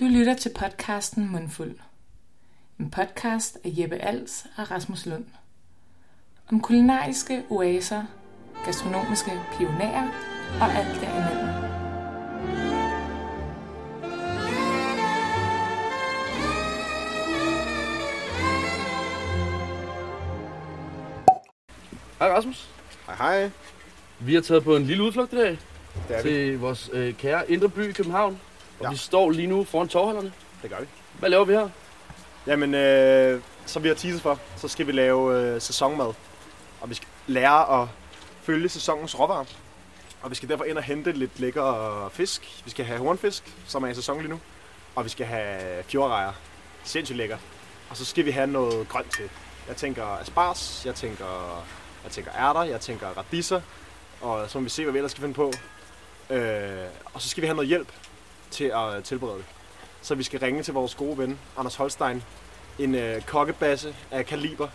Du lytter til podcasten Mundfuld. En podcast af Jeppe Als og Rasmus Lund. Om kulinariske oaser, gastronomiske pionerer og alt derimellem. Hej Rasmus. Hej hej. Vi har taget på en lille udflugt i dag Det er vi. til vores øh, kære indre by i København. Og ja. Ja. vi står lige nu foran torvhallerne. Det gør vi. Hvad laver vi her? Jamen, øh, som vi har teaset for, så skal vi lave øh, sæsonmad. Og vi skal lære at følge sæsonens råvarer. Og vi skal derfor ind og hente lidt lækker fisk. Vi skal have hornfisk, som er i sæson lige nu. Og vi skal have fjordrejer. Sindssygt lækkert. Og så skal vi have noget grønt til. Jeg tænker asparges, jeg tænker, jeg tænker ærter, jeg tænker radiser. Og så må vi se, hvad vi ellers skal finde på. Øh, og så skal vi have noget hjælp til at tilberede det. Så vi skal ringe til vores gode ven, Anders Holstein, en øh, kokkebasse af kaliber,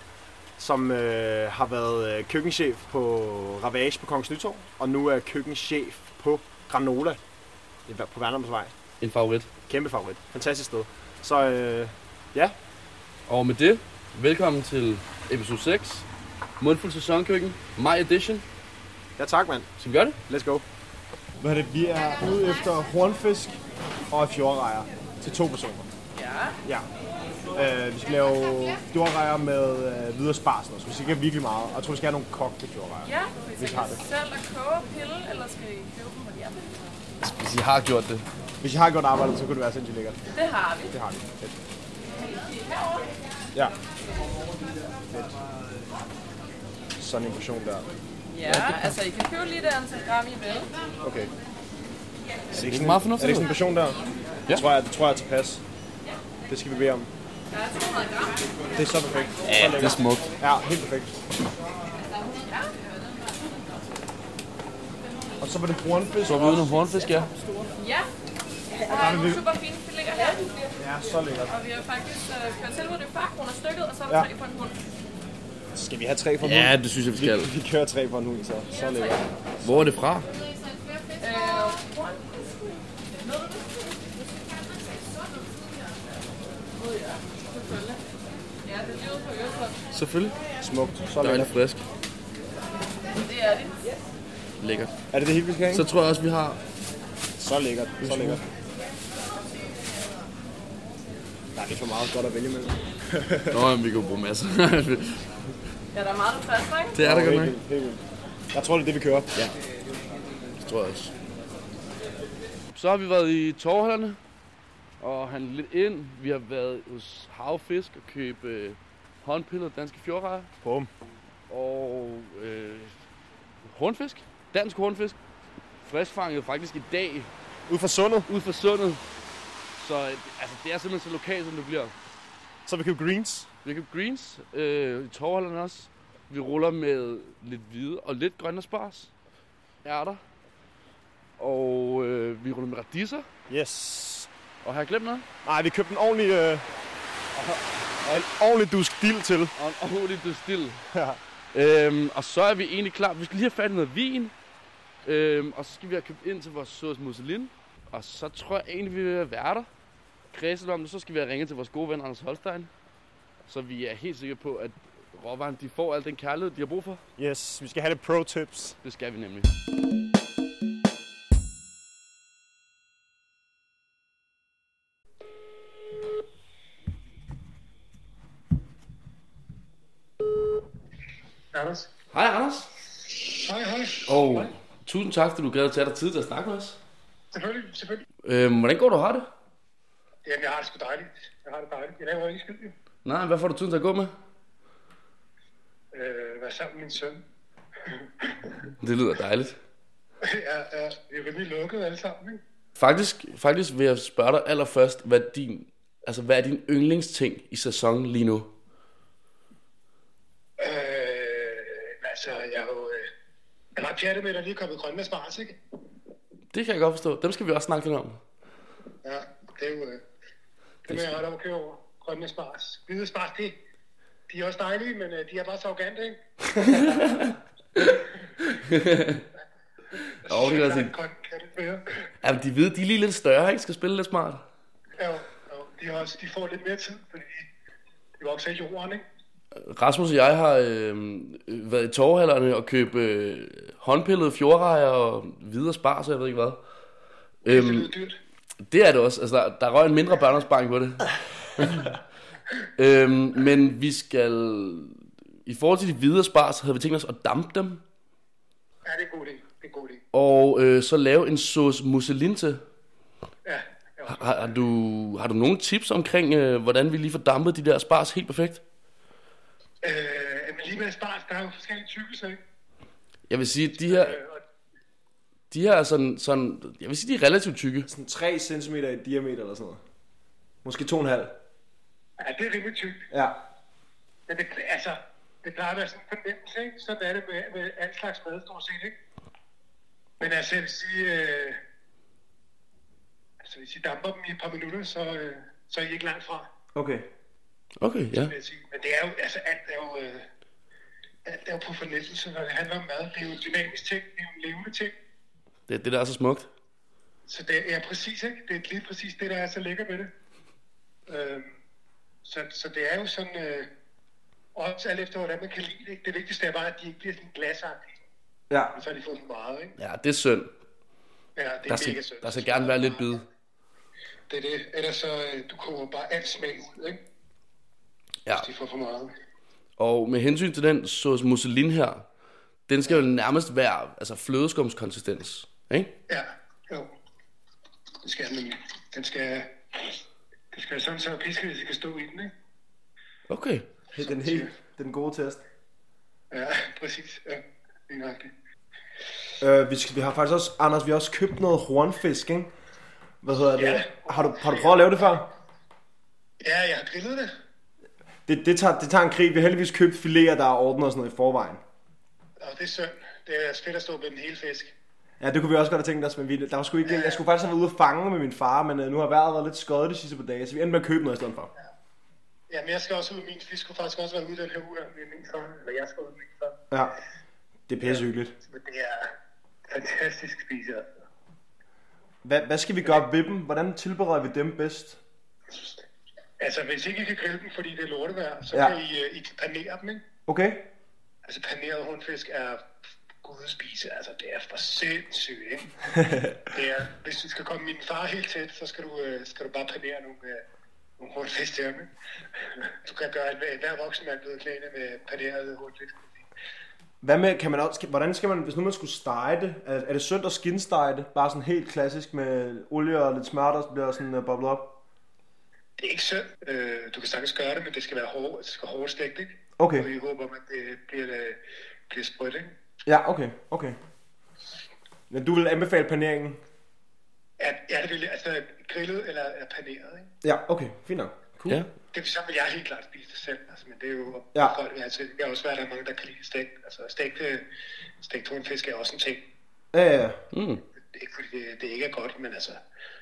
som øh, har været øh, køkkenchef på Ravage på Kongens Nytorv, og nu er køkkenchef på Granola i- på Værnumsvej. En favorit. Kæmpe favorit. Fantastisk sted. Så øh, ja, Og med det, velkommen til episode 6. Mundfuld sæsonkøkken. My edition. ja tak mand. Skal vi gøre det? Let's go. Hvad er det? Vi er ude efter hornfisk og fjordrejer til to personer. Ja. ja. Øh, vi skal lave fjordrejer med øh, videre sparsen også. Vi skal have virkelig meget. Og jeg tror, vi skal have nogle kogte fjordrejer. Ja, hvis Hvis I I har det. selv at koge og pille, eller skal I købe dem, hvor de er på? Hvis I har gjort det. Hvis I har et godt arbejde, så kunne det være sindssygt lækkert. Det har vi. Det har vi. Fedt. Herovre. Ja. Fedt. Sådan en portion der. Ja, altså I kan købe lige det antal gram, I vil. Okay. Er det ikke meget sådan, er fornuftigt? det ikke sådan en portion der? Ja. Det tror jeg, det tror jeg er tilpas. Det skal vi bede om. Der er 200 gram. Det er så perfekt. Ja, det er smukt. Ja, helt perfekt. Og så var det hornfisk. Så er vi ude nogle hornfisk, ja. Ja. Der er nogle super fine fileter her, Ja, så lækkert. og vi har faktisk øh, kørt selv ud det 40 kroner stykket, og så er Ja. der tre på en hund. Skal vi have tre for en Ja, hund? det synes jeg, vi skal. Vi, vi kører tre for en hund, så. Så lækkert. Hvor er det fra? Øh, hund. Ved jeg. Selvfølgelig. Ja, det er livet på Øresund. Selvfølgelig. Smukt. Så Dejligt lækkert. frisk. Det er det. Lækkert. Er det det hele, vi skal have? Så tror jeg også, vi har... Så lækkert, så lækkert. Der er lidt for meget godt at vælge imellem. Nå, jamen, vi kan jo bruge masser. Ja, der er meget, der passer, ikke? det er der godt Helt nok. vildt, helt vildt. Jeg tror, det er det, vi kører. Det tror jeg også. Så har vi været i Torvhallerne og handlet lidt ind. Vi har været hos Havfisk og købt øh, håndpillede danske fjordrejer Bum. og øh, hornfisk. Dansk hornfisk. Friskfanget faktisk i dag Ud fra sundet, ud for sundet. Så øh, altså, det er simpelthen så lokalt, som det bliver. så har vi købt greens. Vi har købt greens øh, i Torvhallerne også. Vi ruller med lidt hvide og lidt grønne spars. Ærter. Og øh, vi ruller med radiser. Yes. Og har jeg glemt noget? Nej, vi købte en ordentlig, øh, og en ordentlig dusk dild til. Og en ordentlig død stille. øhm, og så er vi egentlig klar. Vi skal lige have fat i noget vin. Øhm, og så skal vi have købt ind til vores sauce mousseline. Og så tror jeg egentlig, vi vil være værter. Kredset om det, så skal vi have ringet til vores gode ven Anders Holstein. Så vi er helt sikre på, at råvaren de får al den kærlighed, de har brug for. Yes, vi skal have lidt pro tips. Det skal vi nemlig. Anders. Hej Anders. Hej, hej. Og tusind tak, fordi du gad at tage dig tid til at snakke med os. Selvfølgelig, selvfølgelig. Øhm, hvordan går du og har det? Jamen, jeg har det sgu dejligt. Jeg har det dejligt. Jeg laver ikke skid. jo. Nej, hvad får du tiden til at gå med? Øh, være sammen med min søn. Det lyder dejligt. jeg er, vi er rimelig lukket alle sammen, ikke? Faktisk, faktisk vil jeg spørge dig allerførst, hvad din, altså, hvad er din yndlingsting i sæsonen lige nu? Øh, altså, jeg er jo... Øh, jeg er ret pjattet med, at der lige er kommet grønne spars, ikke? Det kan jeg godt forstå. Dem skal vi også snakke lidt om. Ja, det er jo... Øh, det må jeg ret om at køre over. Grønne spars. Hvide spars, det... De er også dejlige, men øh, de er bare så arrogante, ikke? Jo, det kan jeg Jeg er sige. en grøn katte mere. Jamen, de hvide, de er lige lidt større, ikke? Skal spille lidt smart. Ja, jo. de, også, de får lidt mere tid, fordi de vokser i jorden, ikke? Rasmus og jeg har øh, øh, været i torvhallerne og købe øh, håndpillede fjordrejer og videre spar, så jeg ved ikke hvad. Det lyder Øhm, dyrt. det er det også. Altså, der, der røg en mindre børneopsparing på det. øhm, men vi skal... I forhold til de videre spar, så havde vi tænkt os at dampe dem. Ja, det er en god idé. Det er en god idé. Og øh, så lave en sauce mousseline til. Ja, ja. Har, har, du, har du nogle tips omkring, øh, hvordan vi lige får dampet de der spars helt perfekt? Øh, men lige med spars, der er jo forskellige tykkelser, ikke? Jeg vil sige, de her, Øh, og de her er sådan, sådan... Jeg vil sige, de er relativt tykke. Sådan 3 cm i diameter eller sådan noget. Måske 2,5. ja, det er rimelig tykt. Ja. Men det, altså, det plejer at være sådan en fornemmelse, ikke? Sådan er det med, med al slags mad, stort set, ikke? Men altså, jeg vil sige, øh, altså, hvis I damper dem i et par minutter, så, øh, så er I ikke langt fra, Okay. Okay, ja. vil jeg sige. Men det er jo, altså, alt er jo, øh, alt er jo på fornemmelse, når det handler om mad. Det er jo en dynamisk ting, det er jo en levende ting. Det, er det der er så smukt. Så det er præcis, ikke? Det er lige præcis det, der er så lækkert ved det. Øhm, så, så det er jo sådan, øh, også alt efter, hvordan man kan lide det. ikke? Det vigtigste er bare, at de ikke bliver sådan glasagtige, Ja. så de får for meget, ikke? Ja, det er synd. Ja, det er Der mega skal, sødt. der skal gerne være lidt bid. Det er det. Ellers så, øh, du koger bare alt smag ud, ikke? Ja, Hvis de får for meget. og med hensyn til den sauce mousseline her, den skal jo nærmest være altså flødeskumskonsistens, ikke? Ja, jo. Det skal den nemlig. Den skal, den skal være sådan, så piske, hvis I kan stå i den, ikke? Okay. Den helt, den gode test. Ja, præcis. Ja, det er nøjagtigt. Øh, vi, skal, vi har faktisk også, Anders, vi har også købt noget hornfisk, ikke? Hvad hedder det? Ja. Har, du, har du prøvet at lave det før? Ja, jeg har grillet det. Det, det, tager, det tager en krig. Vi har heldigvis købt filéer, der er ordnet og sådan noget i forvejen. Og det er synd. Det er altså fedt at stå med den hele fisk. Ja, det kunne vi også godt have tænkt os, men vi, der var sgu ikke, jeg skulle faktisk have været ude og fange med min far, men øh, nu har vejret været lidt skøjet de sidste par dage, så vi endte med at købe noget i stedet for. Ja, men jeg skal også ud. Min fisk skulle faktisk også være ude den her uge. her med Min far, eller jeg skal ud med min far. Ja, det er pisse hyggeligt. Men det er fantastisk spise. altså. Hvad, hvad skal vi gøre ved dem? Hvordan tilbereder vi dem bedst? Altså, hvis ikke I kan grille dem, fordi det er lortevejr, så Ja. ja. kan I, øh, I kan panere dem, ikke? Okay? Altså, paneret hornfisk er gudespise. Altså, det er for sindssygt, ikke? det er, hvis du skal komme min far helt tæt, så skal du, øh, skal du bare panere nogle, øh, nogle hornfisk til ham, ikke? du kan gøre, at hver- hver voksen mand ved klæde med paneret hornfisk. Hvad med, kan man også, skal- hvordan skal man, hvis nu man skulle stege det, er, er det sundt at skinstege det? Bare sådan helt klassisk med olie og lidt smør, der bliver sådan uh, boblet op? Det er ikke synd. Øh, du kan sagtens gøre det, men det skal være hård, det skal hårdt stegt, ikke? Okay. Og vi håber, at det bliver, øh, bliver sprødt, ikke? Ja, okay, okay. Men du vil anbefale paneringen? Ja, ja, det vil jeg- altså grillet eller er paneret, ikke? Ja, okay, fint nok. Cool. Ja. Det, så vil jeg helt klart spise det selv, altså, men det er jo Ja. ja. folk, altså, det kan også være, at der er mange, der kan lide stegt. Altså, stegt, øh, stegt hornfisk er også en ting. Ja, ja, ja. Mm. Ikke fordi det, det ikke er godt, men altså,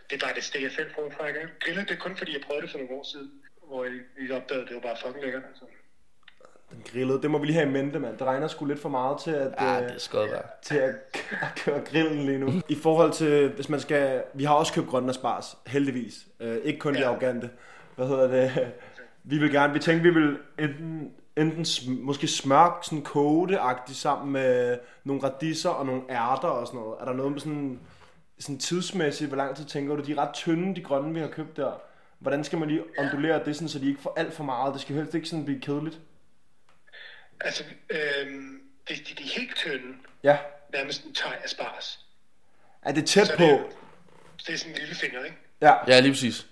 det er bare det steg, jeg selv foretrækker. Grillet, det er kun fordi, jeg prøvede det for nogle år siden, hvor jeg, jeg opdagede, at det var bare fucking lækkert, altså. Den grillede, det må vi lige have i mente, mand. Det regner sgu lidt for meget til at... Ja, øh, Ah, det er skødt værd. til at, at køre grillen lige nu. I forhold til, hvis man skal... Vi har også købt grønne spars, heldigvis. Uh, ikke kun ja. de Ja. arrogante. Hvad hedder det? Vi vil gerne... Vi tænkte, vi vil enten, enten sm- måske smørk, sådan kogeagtigt sammen med nogle radisser og nogle ærter og sådan noget. Er der noget med sådan, sådan tidsmæssigt? Hvor lang tid tænker du? De er ret tynde, de grønne, vi har købt der. Hvordan skal man lige ondulere det, sådan, så de ikke får alt for meget? Det skal helst ikke sådan blive kedeligt. Altså, øh, hvis de, de er helt tynde, Ja. nærmest en teg af spars. Er det tæt Så er på? det- Det er sådan en lille finger, ikke? Ja. Ja, lige præcis.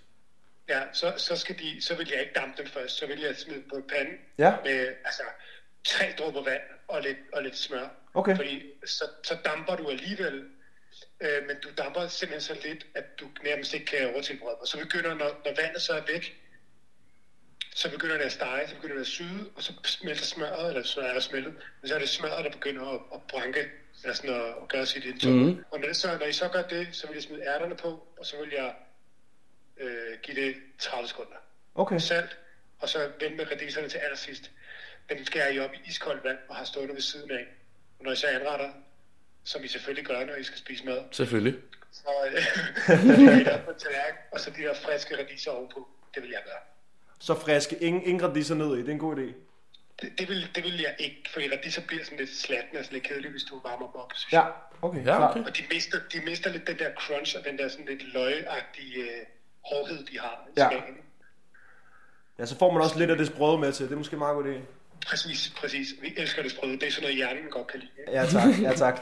Ja, så, så, skal de, så vil jeg ikke dampe dem først. Så vil jeg smide dem på en pande Ja. med altså, tre dråber vand og lidt, og lidt smør. Okay. Fordi så, så damper du alligevel, øh, men du damper simpelthen så lidt, at du nærmest ikke kan overtilbrede Og så begynder, når, når vandet så er væk, så begynder det at stege, så begynder det at syde, og så smelter smøret, eller smøret er smeltet, men så er det smøret, der begynder at, at branke, eller sådan at, at gøre sit indtog. Mm. Mhm. Og når, det så, når I så gør det, så vil jeg smide ærterne på, og så vil jeg øh, give det 30 sekunder. Okay. Salt, og så vende med radiserne til allersidst. Dem skærer I op i iskoldt vand og har stående ved siden af. Og når I så anretter, som I selvfølgelig gør, når I skal spise mad, Selvfølgelig. så øh, så lægger I det op på en tallerken, og så de der friske radiser ovenpå. Det vil jeg gøre. Så friske ingen, ingen radiser ned i. Det er en god idé. Det, det, vil, det vil jeg ikke, fordi radiser bliver sådan lidt slatten og sådan lidt kedelig, hvis du varmer dem op. synes Ja, okay. Ja, klart. okay. Og de mister, de mister lidt den der crunch og den der sådan lidt løgagtige øh, hårdhed, de har i Ja. ja. skagen. Ja, så får man også lidt af det sprøde med til. Det er måske en meget god idé. Præcis, præcis. Vi elsker det sprøde. Det er sådan noget, hjernen godt kan lide. ikke? Ja tak, ja tak.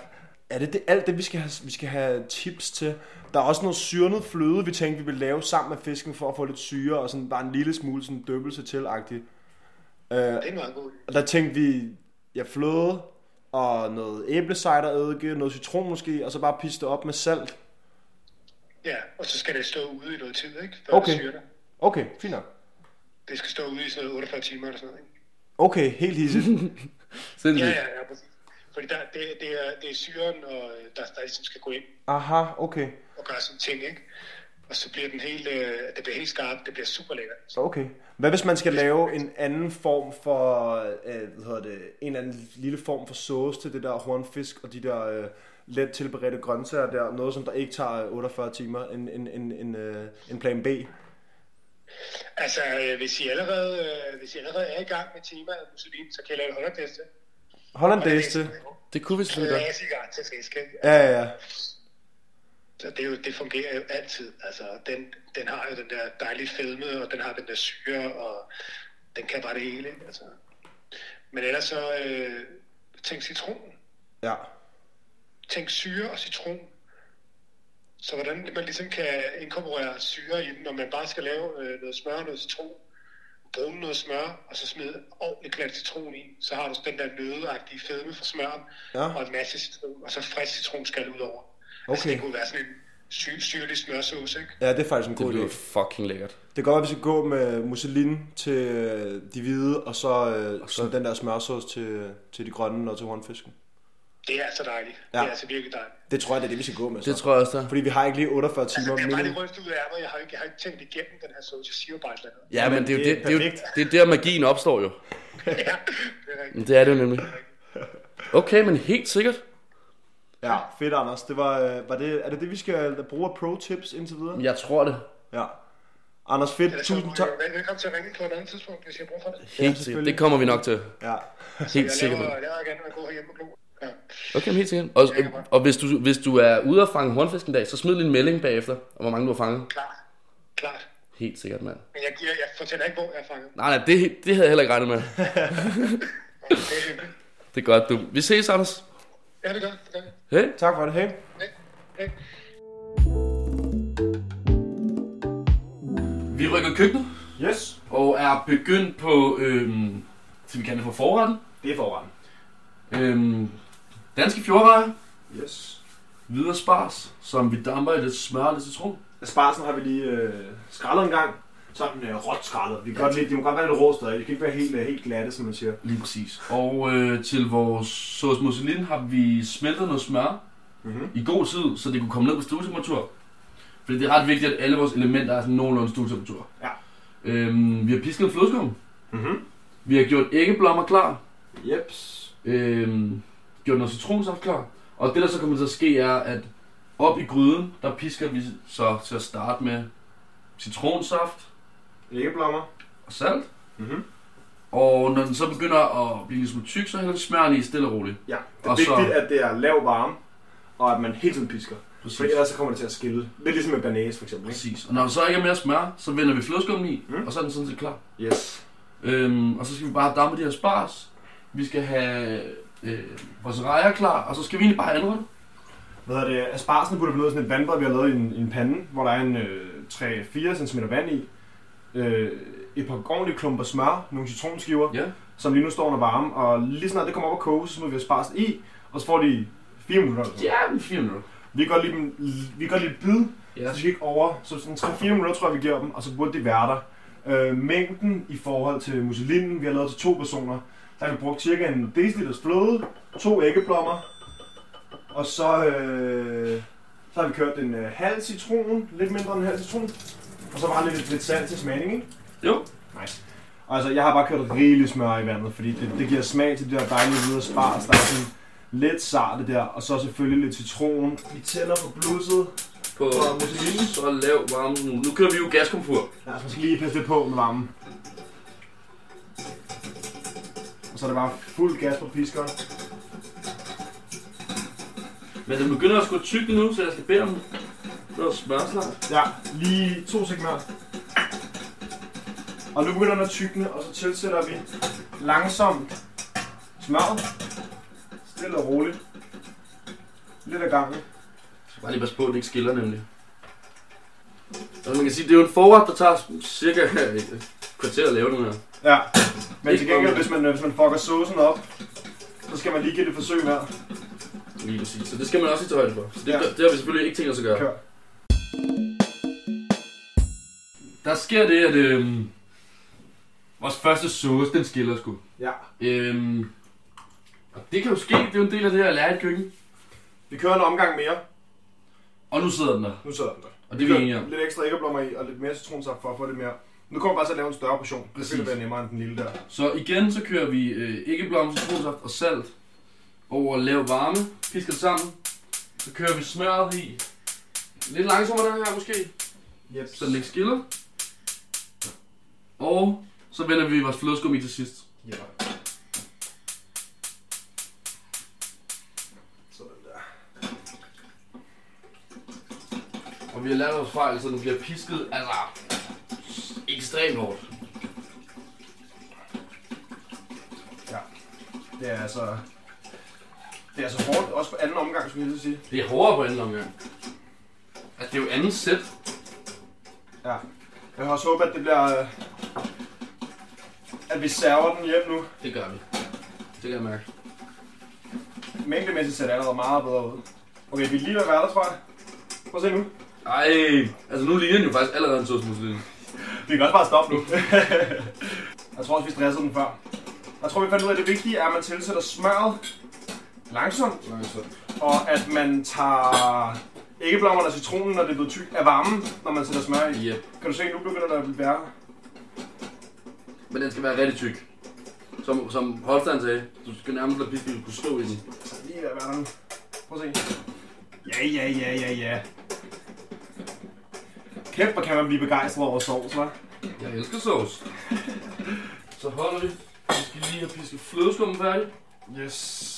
Er det, det alt det, vi skal, have, vi skal have tips til? Der er også noget syrnet fløde, vi tænkte, vi ville lave sammen med fisken for at få lidt syre og sådan bare en lille smule sådan døbelse til -agtigt. Det er en meget god. idé. Og der tænkte vi, ja, fløde og noget æblecidereddike, noget citron måske, og så bare piste op med salt. Ja, og så skal det stå ude i noget tid, ikke? Før Okay. det syrner. Okay, fint nok. Det skal stå ude i sådan noget 48 timer eller sådan noget, ikke? Okay, helt hissigt. Ja, Sindssygt. ja, ja, præcis. Fordi der, det, det, er, det er syren, og øh, der, der ligesom skal gå ind Aha, okay. og gøre sine ting, ikke? Og så bliver den helt, øh, det bliver helt skarpt, det bliver super lækkert. Okay. Hvad hvis man skal lave en anden form for, øh, hvad hedder det, en eller anden lille form for sauce til det der hornfisk og de der øh, let tilberedte grøntsager der, noget som der ikke tager 48 timer, en, en, en, en, øh, en plan B. Altså, øh, hvis, I allerede, øh, hvis I allerede er i gang med temaet musulin, så kan I lave en hollandeste. Hollandaise til. Det kunne vi selvfølgelig godt. Klassiker til fisk, ikke? Ja, ja, ja. Så det, er jo, det fungerer jo altid. Altså, den, den har jo den der dejlige fedme, og den har den der syre, og den kan bare det hele. ikke? Altså. Men ellers så øh, tænk citron. Ja. Tænk syre og citron. Så hvordan man ligesom kan inkorporere syre i den, når man bare skal lave øh, noget smør og noget citron. Brune noget smør, og så smide ordentligt glat citron i. Så har du den der nødeagtige fedme fra smøren, Ja. og en masse citron, og så frisk citronskal ud over. Altså, Okay. det kunne være sådan en sy- syrlig smørsauce, ikke? Ja, det er faktisk en Det god lyder idé. fucking lækkert. Det kan godt være, at vi skal gå med musselin til øh, de hvide, og så, øh, så den der smørsauce til, til de grønne og til hornfisken. Det er altså dejligt. Ja. Ja. Det er altså virkelig dejligt. Det tror jeg, det er det, vi skal gå med så. Det tror jeg også, der. Fordi vi har ikke lige 48 timer. Det er bare men- lige rystet ud af ærmet. Jeg har jo ikke, jeg har ikke tænkt igennem den her sauce. Jeg siger jo bare et eller andet. Ja, men det er jo det er det, det, er jo, perfekt. det er der, magien opstår jo. Ja, det er Mm. rigtigt. Men Det er det jo nemlig. Okay, men helt sikkert. Ja, fedt Anders. Det var, øh, var det, er det det, vi skal bruge af pro-tips indtil videre? Jeg tror det. Ja. Anders, fedt. Eller så Altså, Tusind må I tak. jo vel- velkommen til at ringe på et andet tidspunkt, hvis jeg har brug for det. Helt sikkert. selvfølgelig. Det kommer vi nok til. Ja. Helt jeg sikkert. laver, jeg laver gerne noget god herhjemme og glo. Ja. Okay, men helt sikkert. Og, og, og hvis, du, hvis du er ude og fange hornfisk en dag, så smid lige en melding bagefter, om hvor mange du har fanget. Klart. Klart. Helt sikkert, mand. Men jeg, giver, jeg fortæller ikke, hvor jeg er fanget. Nej, nej, det, det havde jeg heller ikke regnet med. Det er hyggeligt. Det er godt, du. Vi ses, Anders. Ja, det gør det. gør jeg. Hej. Tak for det. Hej. Ja, ja. Vi rykker køkkenet Yes. og er begyndt på, øhm, skal vi kalde det for forretten. Det er forretten. Øhm, danske fjordrejer, Yes. videre spars, som vi damper i lidt smør og lidt citron. Sparsen har vi lige øh, skrællet en gang. Sådan øh, råt skrællet. Vi kan godt lide, de må godt være lidt rå stadig. De kan ikke være helt, øh, helt glatte, som man siger. Lige præcis. Og øh, til vores sauce mousseline har vi smeltet noget smør Mhm. mm-hmm. i god tid, så det kunne komme ned på stuetemperatur. Fordi det er ret vigtigt, at alle vores elementer er sådan nogenlunde stuetemperatur. Ja. Øhm, vi har pisket en flødeskum. Mhm. Vi har gjort æggeblommer klar. Jeps. Øhm, gjort noget citronsaft klar. Og det, der så kommer til at ske, er, at op i gryden, der pisker vi så til at starte med citronsaft Æggeblommer. og salt. Mhm. Og når den så begynder at blive lidt smule tyk, så hælder vi smøren i stille og roligt. Ja. Det er Og så- vigtigt, at det er lav varme, og at man hele tiden pisker. Præcis. For ellers så kommer det til at skille. Lidt ligesom med banæs for eksempel. Ikke? Præcis. Og når der så ikke er mere smør, så vender vi flødeskummen i, Mm. mm. og så er den sådan set klar. Yes. Øhm, og så skal vi bare dampe de her spars. Vi skal have øh, vores rejer klar, og så skal vi egentlig bare have anrettet. Hvad hedder det? Asparsen putter vi ned i sådan et vandbad, vi har lavet i en, i en pande, hvor der er en øh, 3-4 cm vand i. Øh, et par ordentlige klumper smør, nogle citronskiver, Ja. som lige nu står under varme. Og lige snart det kommer op og koge, så smider vi asparsen i, og så får de 4 minutter. eller sådan noget. Ja, men fire minutter. Vi kan godt lide, dem, vi kan godt lide bid, Ja. så de skal ikke over. Så sådan 3-4 minutter tror jeg, vi giver dem, og så burde de være der. Øh, mængden i forhold til muselinen, vi har lavet til to personer, der har vi brugt cirka en deciliters fløde, to æggeblommer, og så, øh, så har vi kørt en øh, halv citron, lidt mindre end en halv citron, og så bare lidt, lidt salt til smagning, ikke? Jo. Nice. Og Altså, jeg har bare kørt rigeligt smør i vandet, fordi det, det giver smag til det der dejlige hvide spars, der er sådan lidt sarte der, og så selvfølgelig lidt citron. Vi tænder på blusset, på så lav varme som muligt. Nu kører vi jo gaskomfur. Ja, så skal lige passe lidt på med varmen. Og så er det bare fuld gas på piskeren. Men den begynder at skulle tykke nu, så jeg skal bede om noget smørslag. Ja, lige to sekunder. Og nu begynder den at tykne, og så tilsætter vi langsomt smør. Stille og roligt. Lidt af gangen. Jeg skal bare lige passe på, at den ikke skiller nemlig. Og man kan sige, det er jo en forret, der tager cirka et kvarter at lave den her. Ja. Men til gengæld, hvis man, øh, hvis man fucker saucen op, så skal man lige give det et forsøg her. Lige præcis. Så det skal man også lige tage højde for. Så det, Ja. ja. det har vi selvfølgelig ikke tænkt os at gøre. Kør. Der sker det, at øhm, vores første sauce, den skiller sgu. Ja. Øhm, og det kan jo ske, det er jo en del af det her at lære i et køkken. Vi kører en omgang mere. Og nu sidder den der, Nu sidder den der. og det er vi enige Kører om. lidt ekstra æggeblommer i, og lidt mere citronsaft for at få det mere. Nu kommer vi bare til at lave en større portion. Det Præcis. skal være nemmere end den lille der. Så igen, så kører vi øh, æggeblom, citronsaft og salt over lav varme, pisker det sammen. Så kører vi smøret i. Lidt langsommere den her måske, Yep. så den ikke skiller. Og så vender vi vores flødeskum i til sidst. Ja. Sådan der. Og vi har lært vores fejl, så den bliver pisket, altså, ekstremt hårdt. Ja. Det er altså... Det er altså hårdt, også på anden omgang, skulle jeg lige sige. Det er hårdere på anden omgang. Altså, det er jo andet sæt. Ja. Jeg har også håbet, at det bliver... øh, At vi server den hjem nu. Det gør vi. Det kan jeg mærke. Mængdemæssigt ser det allerede meget bedre ud. Okay, vi er lige ved at være der, tror jeg. Prøv at se nu. Ej, altså nu ligner den jo faktisk allerede en sosmuslin. Vi kan også bare stoppe nu. jeg tror også, vi stressede den før. Jeg tror, vi fandt ud af, at det vigtige er, at man tilsætter smøret langsomt, og at man tager æggeblommerne og citronen, når det er blevet tykt af varmen, når man sætter smør i. Yep. Kan du se, nu begynder der at blive værre. Men den skal være rigtig tyk. Som, som Holstein sagde, du skal nærmest lade pisken kunne stå i den. Lige ved at være der nu. Prøv at se. Ja, ja, ja, ja, ja. Kæft, hvor kan man blive begejstret over sovs, hva'? Jeg elsker sovs. så holder vi. Vi skal lige have pisket flødeskummen færdig. Yes.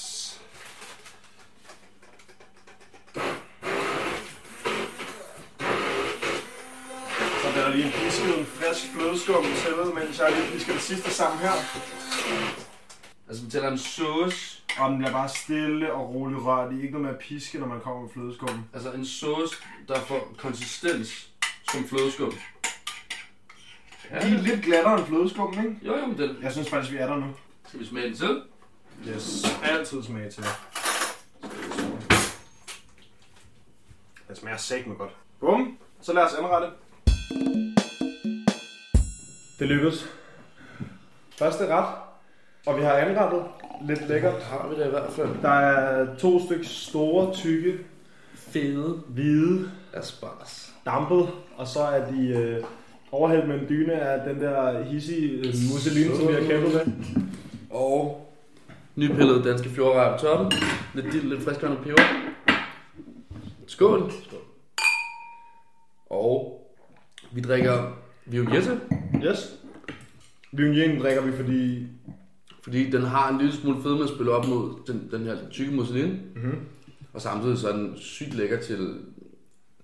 Så bliver der lige en pisket en frisk flødeskum til, mens jeg lige pisker det sidste sammen her. Altså, vi taler om sauce. Og den bliver bare stille og roligt rørt i. Ikke noget med at piske, når man kommer med flødeskum. Altså en sauce, der får konsistens som flødeskum. Ja. Lige lidt glattere end flødeskum, ikke? Jo, jo, men den Jeg synes faktisk, vi er der nu. skal vi smage den til. Yes. Altid smag til. Den smager sækme godt. Bum. Så lad os anrette. Det lykkedes. Første ret. Og vi har anrettet lidt lækkert. Har vi det i hvert fald. Der er to stykker store, tykke, Fede hvide, asparges. dampet. Og så er de øh, overhældt med en dyne af den der hissige øh, musseline, som vi har kæmpet med. Og nypillede danske fjordrejer på toppen. Lidt dild, lidt frisk og peber. Skål. Skål. Og vi drikker Viogette, Yes. Viognieren drikker vi, fordi fordi den har en lille smule fedme at spille op mod den, den her tykke mousseline. Mhm. Og samtidig så er den sygt lækker til,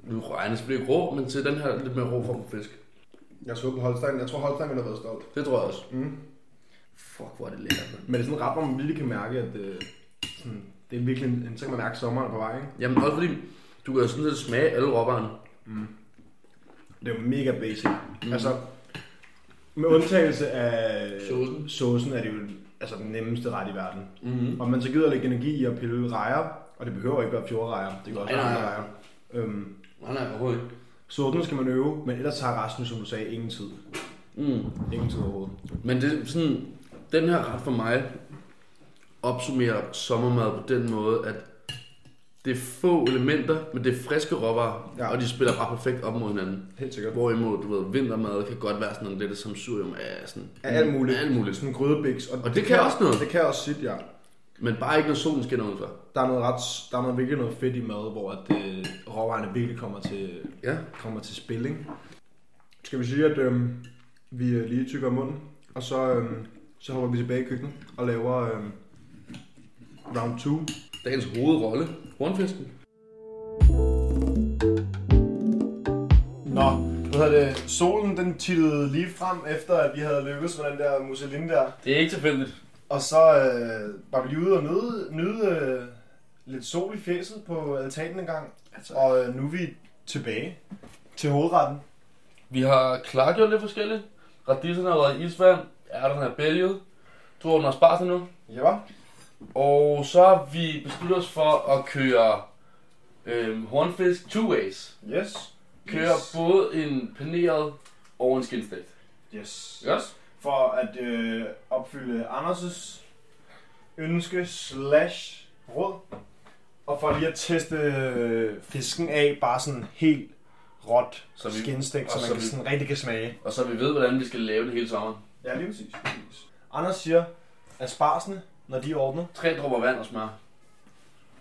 nu regnes det ikke rå, men til den her lidt mere rå form for fisk. Jeg så på Holstein. Jeg tror, Holstein ville have været stolt. Det tror jeg også. Mm. Fuck, hvor er det lækkert, mand. Men det er sådan en ret, hvor man virkelig kan mærke, at øh, sådan, det er virkelig en, så kan man mærke, at sommeren er på vej. Ikke? Jamen også fordi, du kan jo sådan set smage alle råvarerne. Det er jo mega basic. Mm. Altså, med undtagelse af Saucen. saucen er det jo altså, den nemmeste ret i verden. Mm-hmm. Og man så gider lægge energi i at pille rejer, og det behøver ikke være fjordrejer. Det kan også være Nej, nej, andre nej. rejer. Øhm, Nej, nej, overhovedet ikke. saucen skal man øve, men ellers tager resten, som du sagde, ingen tid. Mm. Ingen tid overhovedet. Men det er sådan, den her ret for mig opsummerer sommermad på den måde, at det er få elementer, men det er friske råvarer, Ja. ja. og de spiller bare perfekt op mod hinanden. Helt sikkert. Hvorimod, du ved, vintermad kan godt være sådan en lidt samsurium af sådan... Af alt muligt. Af alt muligt. Sådan en grydebiks. Og, det kan også noget. Det kan også sit, ja. Men bare ikke, når solen skinner udenfor. Der er, noget ret, der er noget, virkelig noget fedt i mad, hvor at, øh, råvarerne virkelig kommer til, Ja. kommer til spil, ikke? Skal vi sige, at øh, vi øh, lige tykker om munden, og så, øh, så hopper vi tilbage i køkkenet og laver øh, round 2. Dagens hovedrolle. Hornfisken. Nå, hvad hedder det? Solen den tittede lige frem efter, at vi havde lykkes med den der musseline der. Det er ikke tilfældigt. Og så øh, var vi lige ude og nyde, nyde øh, lidt sol i fjeset på altanen en gang. Altså. Og øh, nu er vi tilbage til hovedretten. Vi har klargjort lidt forskelligt. Radiserne har været i isvand. Ærterne er bælget. Druerne har spart nu. Ja. Og så har vi besluttet os for at køre øhm, hornfisk two ways. Yes. Køre Yes. både en paneret og en skinstegt. Yes. Yes. For at øh, opfylde Anders' ønske slash råd. Og for lige at teste øh, fisken af, bare sådan helt råt Så vi- skinstegt, så og man så kan vi- sådan rigtig kan smage. Og så vi ved, hvordan vi skal lave det hele sommeren. Ja, lige præcis. præcis. Anders siger, at sparsene, når de er ordnet, Tre dråber vand og smør. en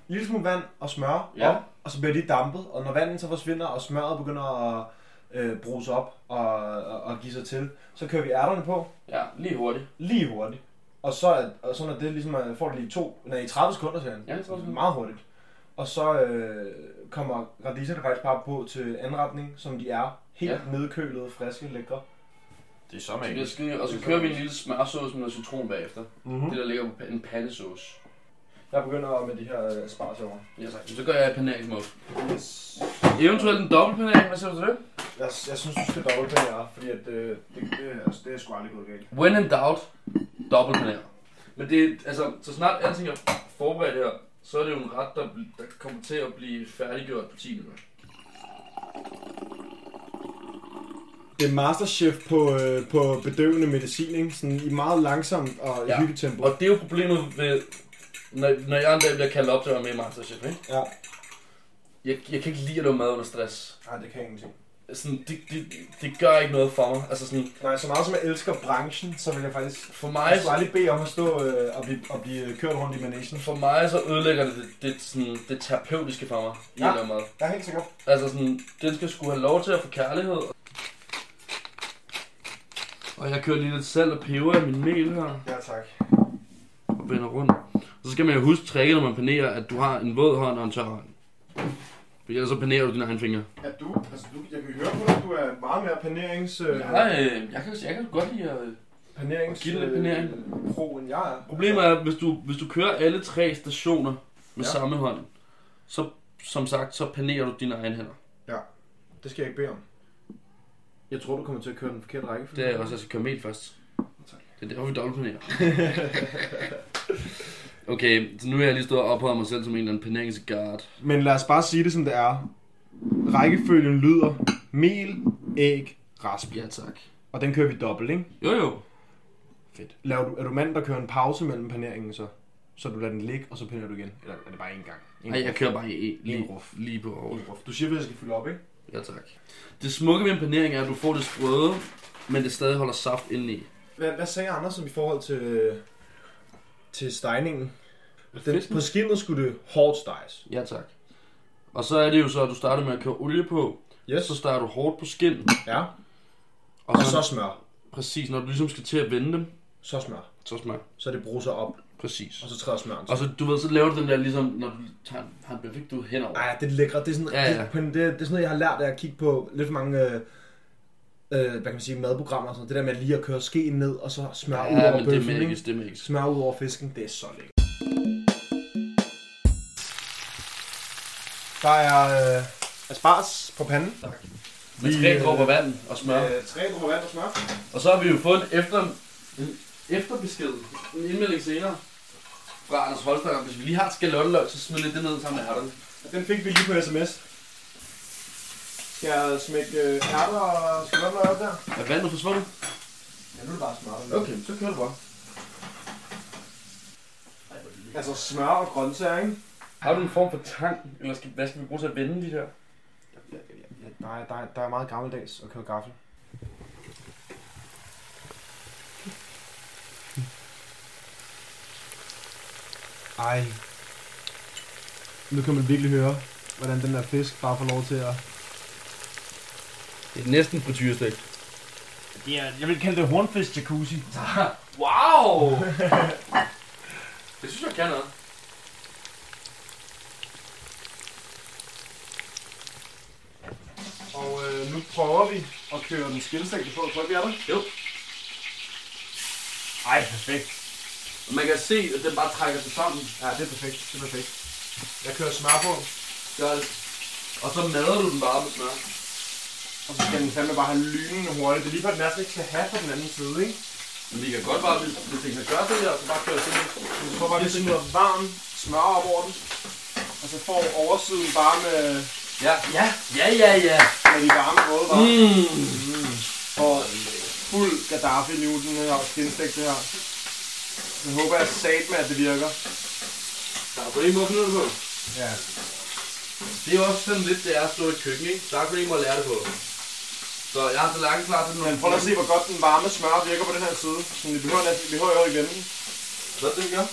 lille smule vand og smør Ja. ja. op, og så bliver de dampet, og når vandet så forsvinder, og smøret begynder at øh, bruse op og, og, og give sig til, så kører vi ærterne på Ja, lige hurtigt. lige hurtigt. Og så, er, og så når det ligesom, er- får det lige to, nej, i 30 sekunder, siger han. Ja, 30 sekunder. Meget hurtigt. Og så øh, kommer radiserne faktisk bare på til anretning, som de er. Helt Ja. ja. nedkølet, friske, lækre. Det er så Det bliver skide, og så kører vi en lille smørsauce med noget citron bagefter. Mhm. Det der ligger på pa- en pandesauce. Jeg begynder med de her øh, sparsøver. Ja, tak. Så gør jeg paneringsmål. Yes. Eventuelt en dobbelt panering, hvad siger du til det? Jeg, jeg synes, du skal dobbelt det her, fordi at, øh, det, det, altså, det er sgu aldrig gået galt. When in doubt, dobbelt panering. Men det er- altså, så snart alting er forberedt her, så er det jo en ret, der, bl- der kommer til at blive færdiggjort på 10 minutter. Det er masterchef på, øh, på bedøvende medicin, ikke? Sådan i meget langsomt og Ja. ja. hyggetempo. Og det er jo problemet ved, når, når jeg en dag bliver kaldt op til at være med i Masterchef, ikke? Ja. Jeg, jeg kan ikke lide at lave mad under stress. Nej, det kan jeg ingenting. Sådan, det, det, det gør ikke noget for mig. Altså sådan, Nej, så meget som jeg elsker branchen, så vil jeg faktisk... for Jeg mig, skulle aldrig bede om at stå øh, og, blive, og blive kørt rundt i managen. for mig så ødelægger det det, det, sådan, det terapeutiske for mig i Ja. ja. mad. Jeg er helt sikker. Altså sådan, den skal skulle have lov til at få kærlighed. Og jeg kører lige lidt salt og peber i min mel her Ja, tak. og vender rundt. Og så skal man jo huske tricket, når man panerer, at du har en våd hånd og en tør hånd. For ellers så panerer du dine egne fingre. Ja, du, altså du, jeg kan høre på dig, du er meget mere panerings... Øh, øh, jeg, kan, jeg kan godt lide at... øh, panerings... Og giv det lidt panering. Øh, pro, end jeg er. Problemet er, at hvis du, hvis du kører alle tre stationer med ja. samme hånd, så som sagt, så panerer du dine egne hænder. Det skal jeg ikke bede om. Jeg tror, du kommer til at køre den forkerte række. Det er også, jeg skal køre mel først. Tak. Det er derfor, vi dobbeltpanerer. okay, så nu har jeg lige stået og ophøjet mig selv som en eller anden paneringsguard. Men lad os bare sige det, som det er. Rækkefølgen lyder mel, æg, rasp. Ja, tak. Og den kører vi dobbelt, ikke? Jo, jo. Fedt. Laver du, er du mand, der kører en pause mellem paneringen så? Så du lader den ligge, og så pinder du igen? Eller er det bare én gang? Én Ej, jeg kører bare i, En lige, ruf. lige på over. gang. Du siger, at jeg skal fylde op, ikke? Ja, tak. Det smukke ved en panering er, at du får det sprøde, men det stadig holder saft indeni. Hvad, hvad sagde Anders om i forhold til, til stejningen? Den, Fedt. på skinnet skulle det hårdt steges. Ja, tak. Og så er det jo så, at du starter med at køre olie på, Yes. så starter du hårdt på skin, Ja. og Og så, så smør. præcis, når du ligesom skal til at vende dem, Så smør. så smager. Så det bruser op, Præcis. og så træder smøren til. Og så, du ved, så laver du den der ligesom, når du tager, har en perfekt du henover. Ej, det er lækkert. Det er sådan, Ja, ja, ja. ja. Det, på en- det, det er sådan noget, jeg har lært af at kigge på lidt for mange øh, øh, hvad kan man sige, madprogrammer og sådan noget. Det der med lige at køre skeen ned, og så smør ud Ja, over men det er bøffen, magisk, ikke? det er magisk. Smør ud over fisken, det er så lækkert. Der er øh, asparges på panden. Tak. Med Vi, tre øh, dråber vand og smør. tre dråber vand og smør. Og så har vi jo fået en, efter, en efterbesked, en indmelding senere, fra Anders Holstein, om, hvis vi lige har et skalotteløg, så smid lidt det ned sammen med ærterne. Den fik vi lige på sms. Skal jeg smække øh, ærter og skalotler op der? Er vandet forsvundet? Ja, nu er det bare smart. Okay, så kører du bare. Altså smør og grøntsager, ikke? Har du en form for tang, eller skal, hvad skal vi bruge til at vende de her? Nej, der, der er meget gammeldags at køre gaffel. Ej. Nu kan man virkelig høre, hvordan den der fisk bare får lov til at... Det er næsten frityrestik. Det er, jeg vil kalde det hornfisk jacuzzi. Wow! det synes jeg kan noget. Og øh, nu prøver vi at køre den skilstængte på. Tror du, vi er der? Ej, perfekt. Man kan se, at den bare trækker sig sammen. Ja, det er perfekt. Det er perfekt. Jeg kører smør på, Gør det. Og så mader du den bare med smør. og så skal den fandme bare have lynende hurtigt. Det er lige før, den næsten ikke skal have på den anden side, ikke? Men vi kan godt bare, hvis, hvis den kan gøre det her, så bare køre sådan lidt. Jeg tror bare, vi skal noget varm smør op over den. Og så får oversiden bare med, Ja. Ja. Ja, ja, ja. med de varme rådevarer. Mm. Og fuld Gaddafi nu, den her skinstæk, det her. Jeg håber, jeg sat med, at det virker. Der er på en måde finde det på. Ja. Det er jo også sådan lidt, det er at stå i et køkken, ikke? Der er på en måde at lære det på. Så jeg har så langt klar til nogle... Men prøv lige at se, hvor godt den varme smør virker på den her side. Så vi behøver, næsten- vi behøver jo ikke vende den. Hvad det gør?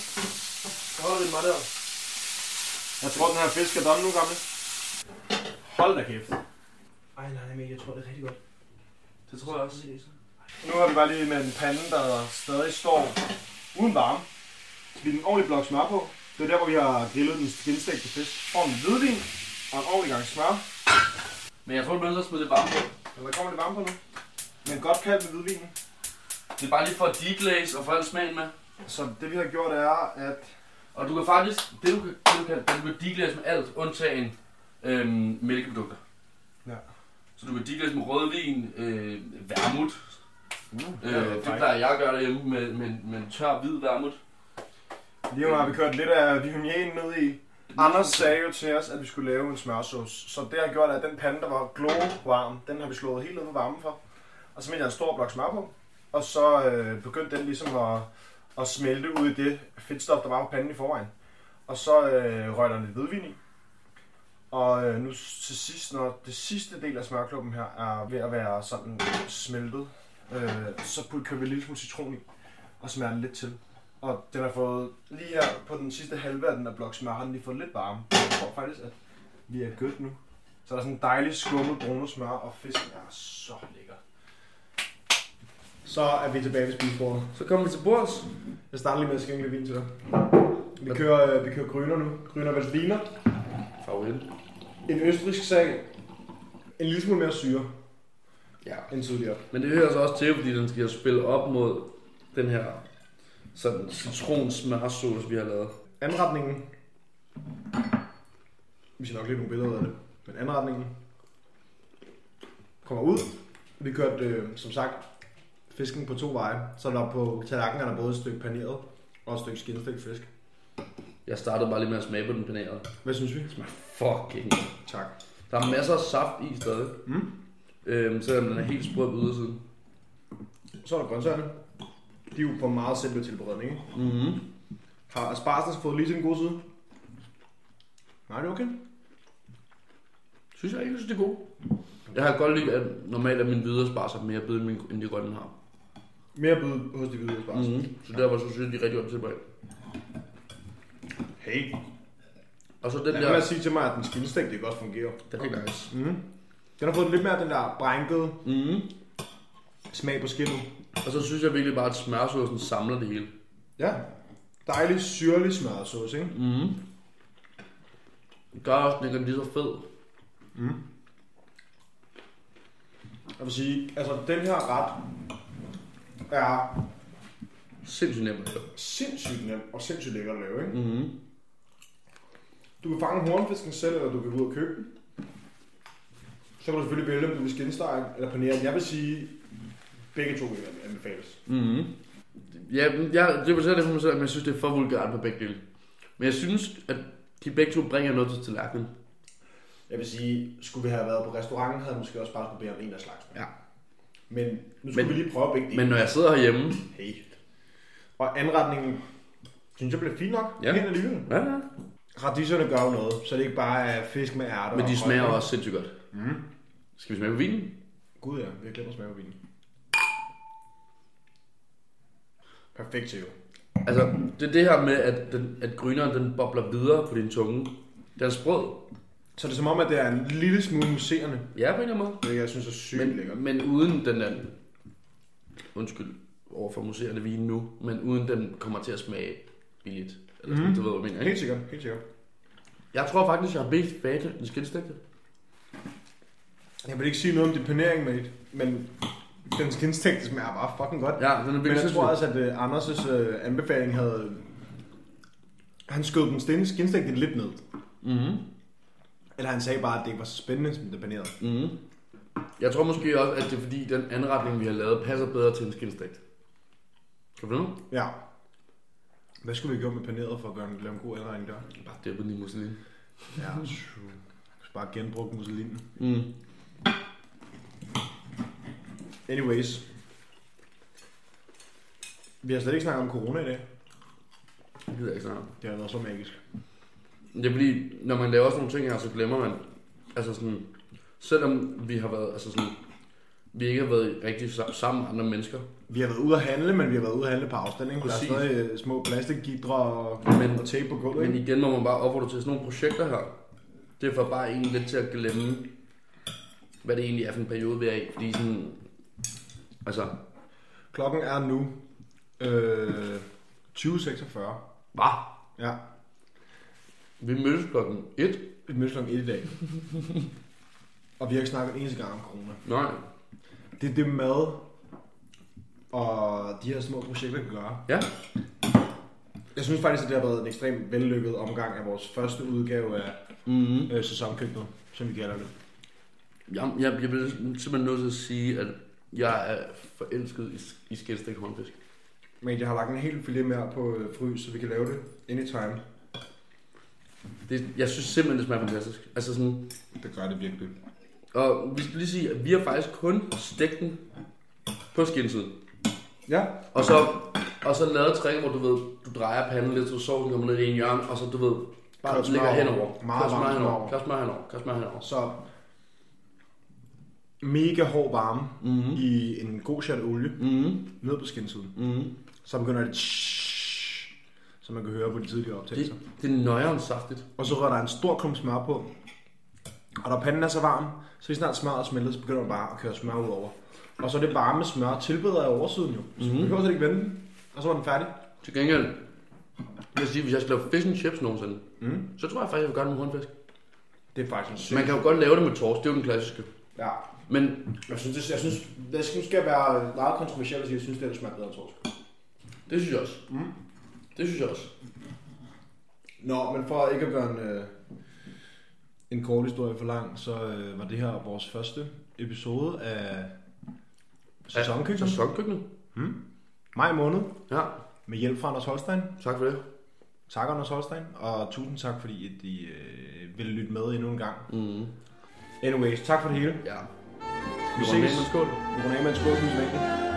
Så holder det mig der. Jeg tror, den her fisk er done nu, gamle. Hold da kæft. Ej, nej, men jeg tror, det er rigtig godt. Det tror jeg også. Nu har vi bare lige med en pande, der stadig står uden varme. Så vi en ordentlig blok smør på. Det er der, hvor vi har grillet den skinstægte fisk. Og en hvidvin og en ordentlig gang smør. Men jeg tror, du bliver nødt til at smide det varme på. Men der kommer lidt varme på nu. Men godt kaldt med hvidvinen. Det er bare lige for at deglaze og få al smagen med. Så det vi har gjort er, at Og du kan faktisk, det du kan, det du kan, det du kan deglaze med alt, undtagen øhm, mælkeprodukter. Ja. Så du kan deglaze med rødvin, øh, vermut. uh, Øh, det plejer jeg at gøre derhjemme med, med, med en tør hvid vermut. lige nu har vi kørt lidt af Vihumian ned i. Anders sagde jo til os, at vi skulle lave en smørsauce. Så det har gjort, at den pande, der var glovarm, den har vi slået helt ned på varmen for. Og så mente jeg en stor blok smør på. Og så øh, begyndte den ligesom at, at smelte ud i det fedtstof, der var på panden i forvejen. Og så øh, røg der lidt hvidvin i. Og øh, nu til sidst, når det sidste del af smørklumpen her er ved at være sådan smeltet, øh, så put, kører vi lidt smule citron i og smager den lidt til. Og den har fået, lige her på den sidste halve af den der blok smør, har den lige fået lidt varme. Jeg tror faktisk, at vi er good nu. Så der er sådan en dejlig skummet brune smør, og fisken er så lækker. Så er vi tilbage ved spisebordet. Så kommer vi til bords. Jeg starter lige med at skænke lidt vin til dig. Vi kører, øh, vi kører gryner nu. Gryner Veltliner. Favorit. En østrigsk sag. En lille smule mere syre Ja. end tidligere. Men det hører så også til, fordi den skal spille op mod den her sådan citronsmørsauce, vi har lavet. Anretningen. Vi skal nok lige nogle billeder ud af det. Men anretningen kommer ud. Vi kørte, øh, som sagt, fisken på to veje. Så der på tallerkenen er der både et stykke paneret og et stykke skinstegt fisk. Jeg startede bare lige med at smage på den panerede. Hvad synes vi? Fucking. Tak. Der er masser af saft i stadig. Mm. Øhm, selvom den er helt sprød på ydersiden. Så er der grøntsagerne. De er jo på meget simpel tilberedning, ikke? Mm-hmm. Har asparges fået lige til den gode side? Nej, det er okay. Synes jeg egentlig, synes, det er god. Jeg har godt lide, at normalt er mine hvide sparer sig mere bid, end mine- end de grønne har. Mere bøde hos de hvide asparges. Mm. Mm-hmm. Så derfor så synes jeg, de er rigtig godt tilbage. Hey. Og så den Lad der... være med at sige til mig, at den skinstægte ikke også fungerer. Den er nice. Den har fået lidt mere af den der brænkede Mm-hmm. smag på skinnet. Og så synes jeg virkelig bare, at smørsaucen samler det hele. Ja. Dejlig syrlig smørsauce, ikke? Mm. Det gør også, at den ikke er lige så fed. Jeg vil sige, altså den her ret er Sindssygt nemt at lave. sindssygt nem og sindssygt lækker at lave, ikke? Mm-hmm. Du kan fange hornfisken selv, eller du kan gå ud og købe den. Så kan du selvfølgelig vælge, om du vil skinstege eller panere den. Jeg vil sige, begge to vil anbefales. Mm-hmm. Ja, men jeg, det var selv det for mig selv, men jeg synes, det er for vulgært på begge dele. Men jeg synes, at de begge to bringer noget til tallerkenen. Jeg vil sige, skulle vi have været på restauranten, havde vi måske også bare skulle bede om en af slagsen. Ja. Men nu Men- skulle men, vi lige prøve begge dele. Men når jeg sidder herhjemme... Hey. Og anretningen, synes jeg blev fint nok. Ja. Helt alligevel. Ja, ja. Radiserne gør jo noget, så det ikke bare er fisk med ærter. Men og de grønt. smager også sindssygt godt. Mm. Skal vi smage på vinen? Gud ja, vi har glemt at smage på vinen. Perfekt til jo. Altså, det er det her med, at, den, at gryneren den bobler videre på din tunge. Den er sprød. Så det er som om, at det er en lille smule muserende, Ja, på en eller anden måde. hvilket jeg synes er sygt men, lækkert. Men, men uden den der... Undskyld over for museerne vin nu, men uden den kommer til at smage billigt. Eller sådan, mm. du ved, hvad jeg mener, Helt ikke? sikkert, helt sikkert. Jeg tror faktisk, jeg har mest tilbage til den skinstægte. Jeg vil ikke sige noget om din panering, mate, men den skinstægte smager bare fucking godt. Ja, den er Men jeg virkelig tror sindssyg. også, at uh, Anders' uh, anbefaling havde... Han skød den sten- skinstægte lidt ned. Mhm. Eller han sagde bare, at det ikke var så spændende, som det panerede. Mhm. Jeg tror måske også, at det er fordi, den anretning, vi har lavet, passer bedre til en skinstægt. Kan du følge mig? Ja. Hvad skulle vi gøre med paneret for at gøre en, lave en god anregning der? Bare dæppe den i musselin. Ja, true. Bare genbrugt musselinen. Mm. Anyways. Vi har slet ikke snakket om corona i dag. Det gider jeg ikke snart. Det har været så magisk. Det er fordi, når man laver sådan nogle ting her, så glemmer man, altså sådan, selvom vi har været, altså sådan, vi ikke har været rigtig sa- sammen med andre mennesker, Vi har været ude at handle, men vi har været ude at handle på afstand. Ikke? Der er Præcis. stadig øh, små plastikgidre og, Men- og tape på gulvet. men Ikke? igen må man bare opfordre til sådan nogle projekter her. Det får bare en lidt til at glemme, hvad det egentlig er for en periode, vi er i. Fordi sådan, altså, Klokken er nu øh, 20.46. hvad? Ja, Vi mødtes klokken 1. et mødes om 1 i dag. og vi har ikke snakket en eneste gang om corona. Nej, Det er det mad og de her små projekter kan gøre. ja, Jeg synes faktisk, at det har været en ekstremt vellykket omgang af vores første udgave af Mhm. øh, sæsonkøkkenet, som vi kalder det. jeg, jeg, jeg bliver simpelthen nødt til at sige, at jeg er forelsket i, i skældstæk håndfisk. Men jeg har lagt en hel filet mere på øh, frys, så vi kan lave det anytime. Det, jeg synes simpelthen, det smager fantastisk. Altså sådan, Det gør det virkelig. Og vi skal lige sige, at vi har faktisk kun stegt den på skinsiden. Ja, Og så, og så lavet trick, hvor du ved, du drejer panden lidt, så sovsen kommer lidt i en hjørne, og så du ved, bare Kør smør ligger over. henover. Meget Kør smør varmt henover. smør. Kør smør henover. Kør smør henover. så mega hård varme mm-hmm. i en god chat olie Mhm, ned på skinsiden. mhm. Så begynder det som man kan høre på de tidligere optagelser. Det, det er nøjeren saftigt. Og så rører der en stor klump smør på. Og når panden er så varm, så lige snart smøret er smeltet, så begynder man bare at køre smør ud over. Og så er det varme smør tilbedret af oversiden jo. Mhm. Så mm-hmm. behøver slet ikke vende den. Og så var den færdig. Til gengæld, vil jeg sige, hvis jeg skal lave fish and chips nogensinde, mm. så tror jeg faktisk, jeg vil gøre det med hornfisk. Det er faktisk en syg. Man kan jo godt lave det med tors, det er jo den klassiske. Ja. Men Jeg synes, det, jeg synes, jeg synes, skal være meget kontroversielt at sige, at jeg synes, det er smager bedre end torsk. det synes jeg også. Mm. Det synes jeg også. Nå, men for ikke at gøre en, øh, en kort historie for lang, så øh, var det her vores første episode af Mm. sæsonkøkken. Sæsonkøkkenet. Maj måned, Ja, med hjælp fra Anders Holstein. tak for det. Tak, Anders Holstein, og tusind tak, fordi at I øh, vil lytte med endnu en gang. Mm. Anyways, tak for det hele. Ja. Vi Vi ses. ses. Skål. Vi runder af med en skål, som sædvanligt.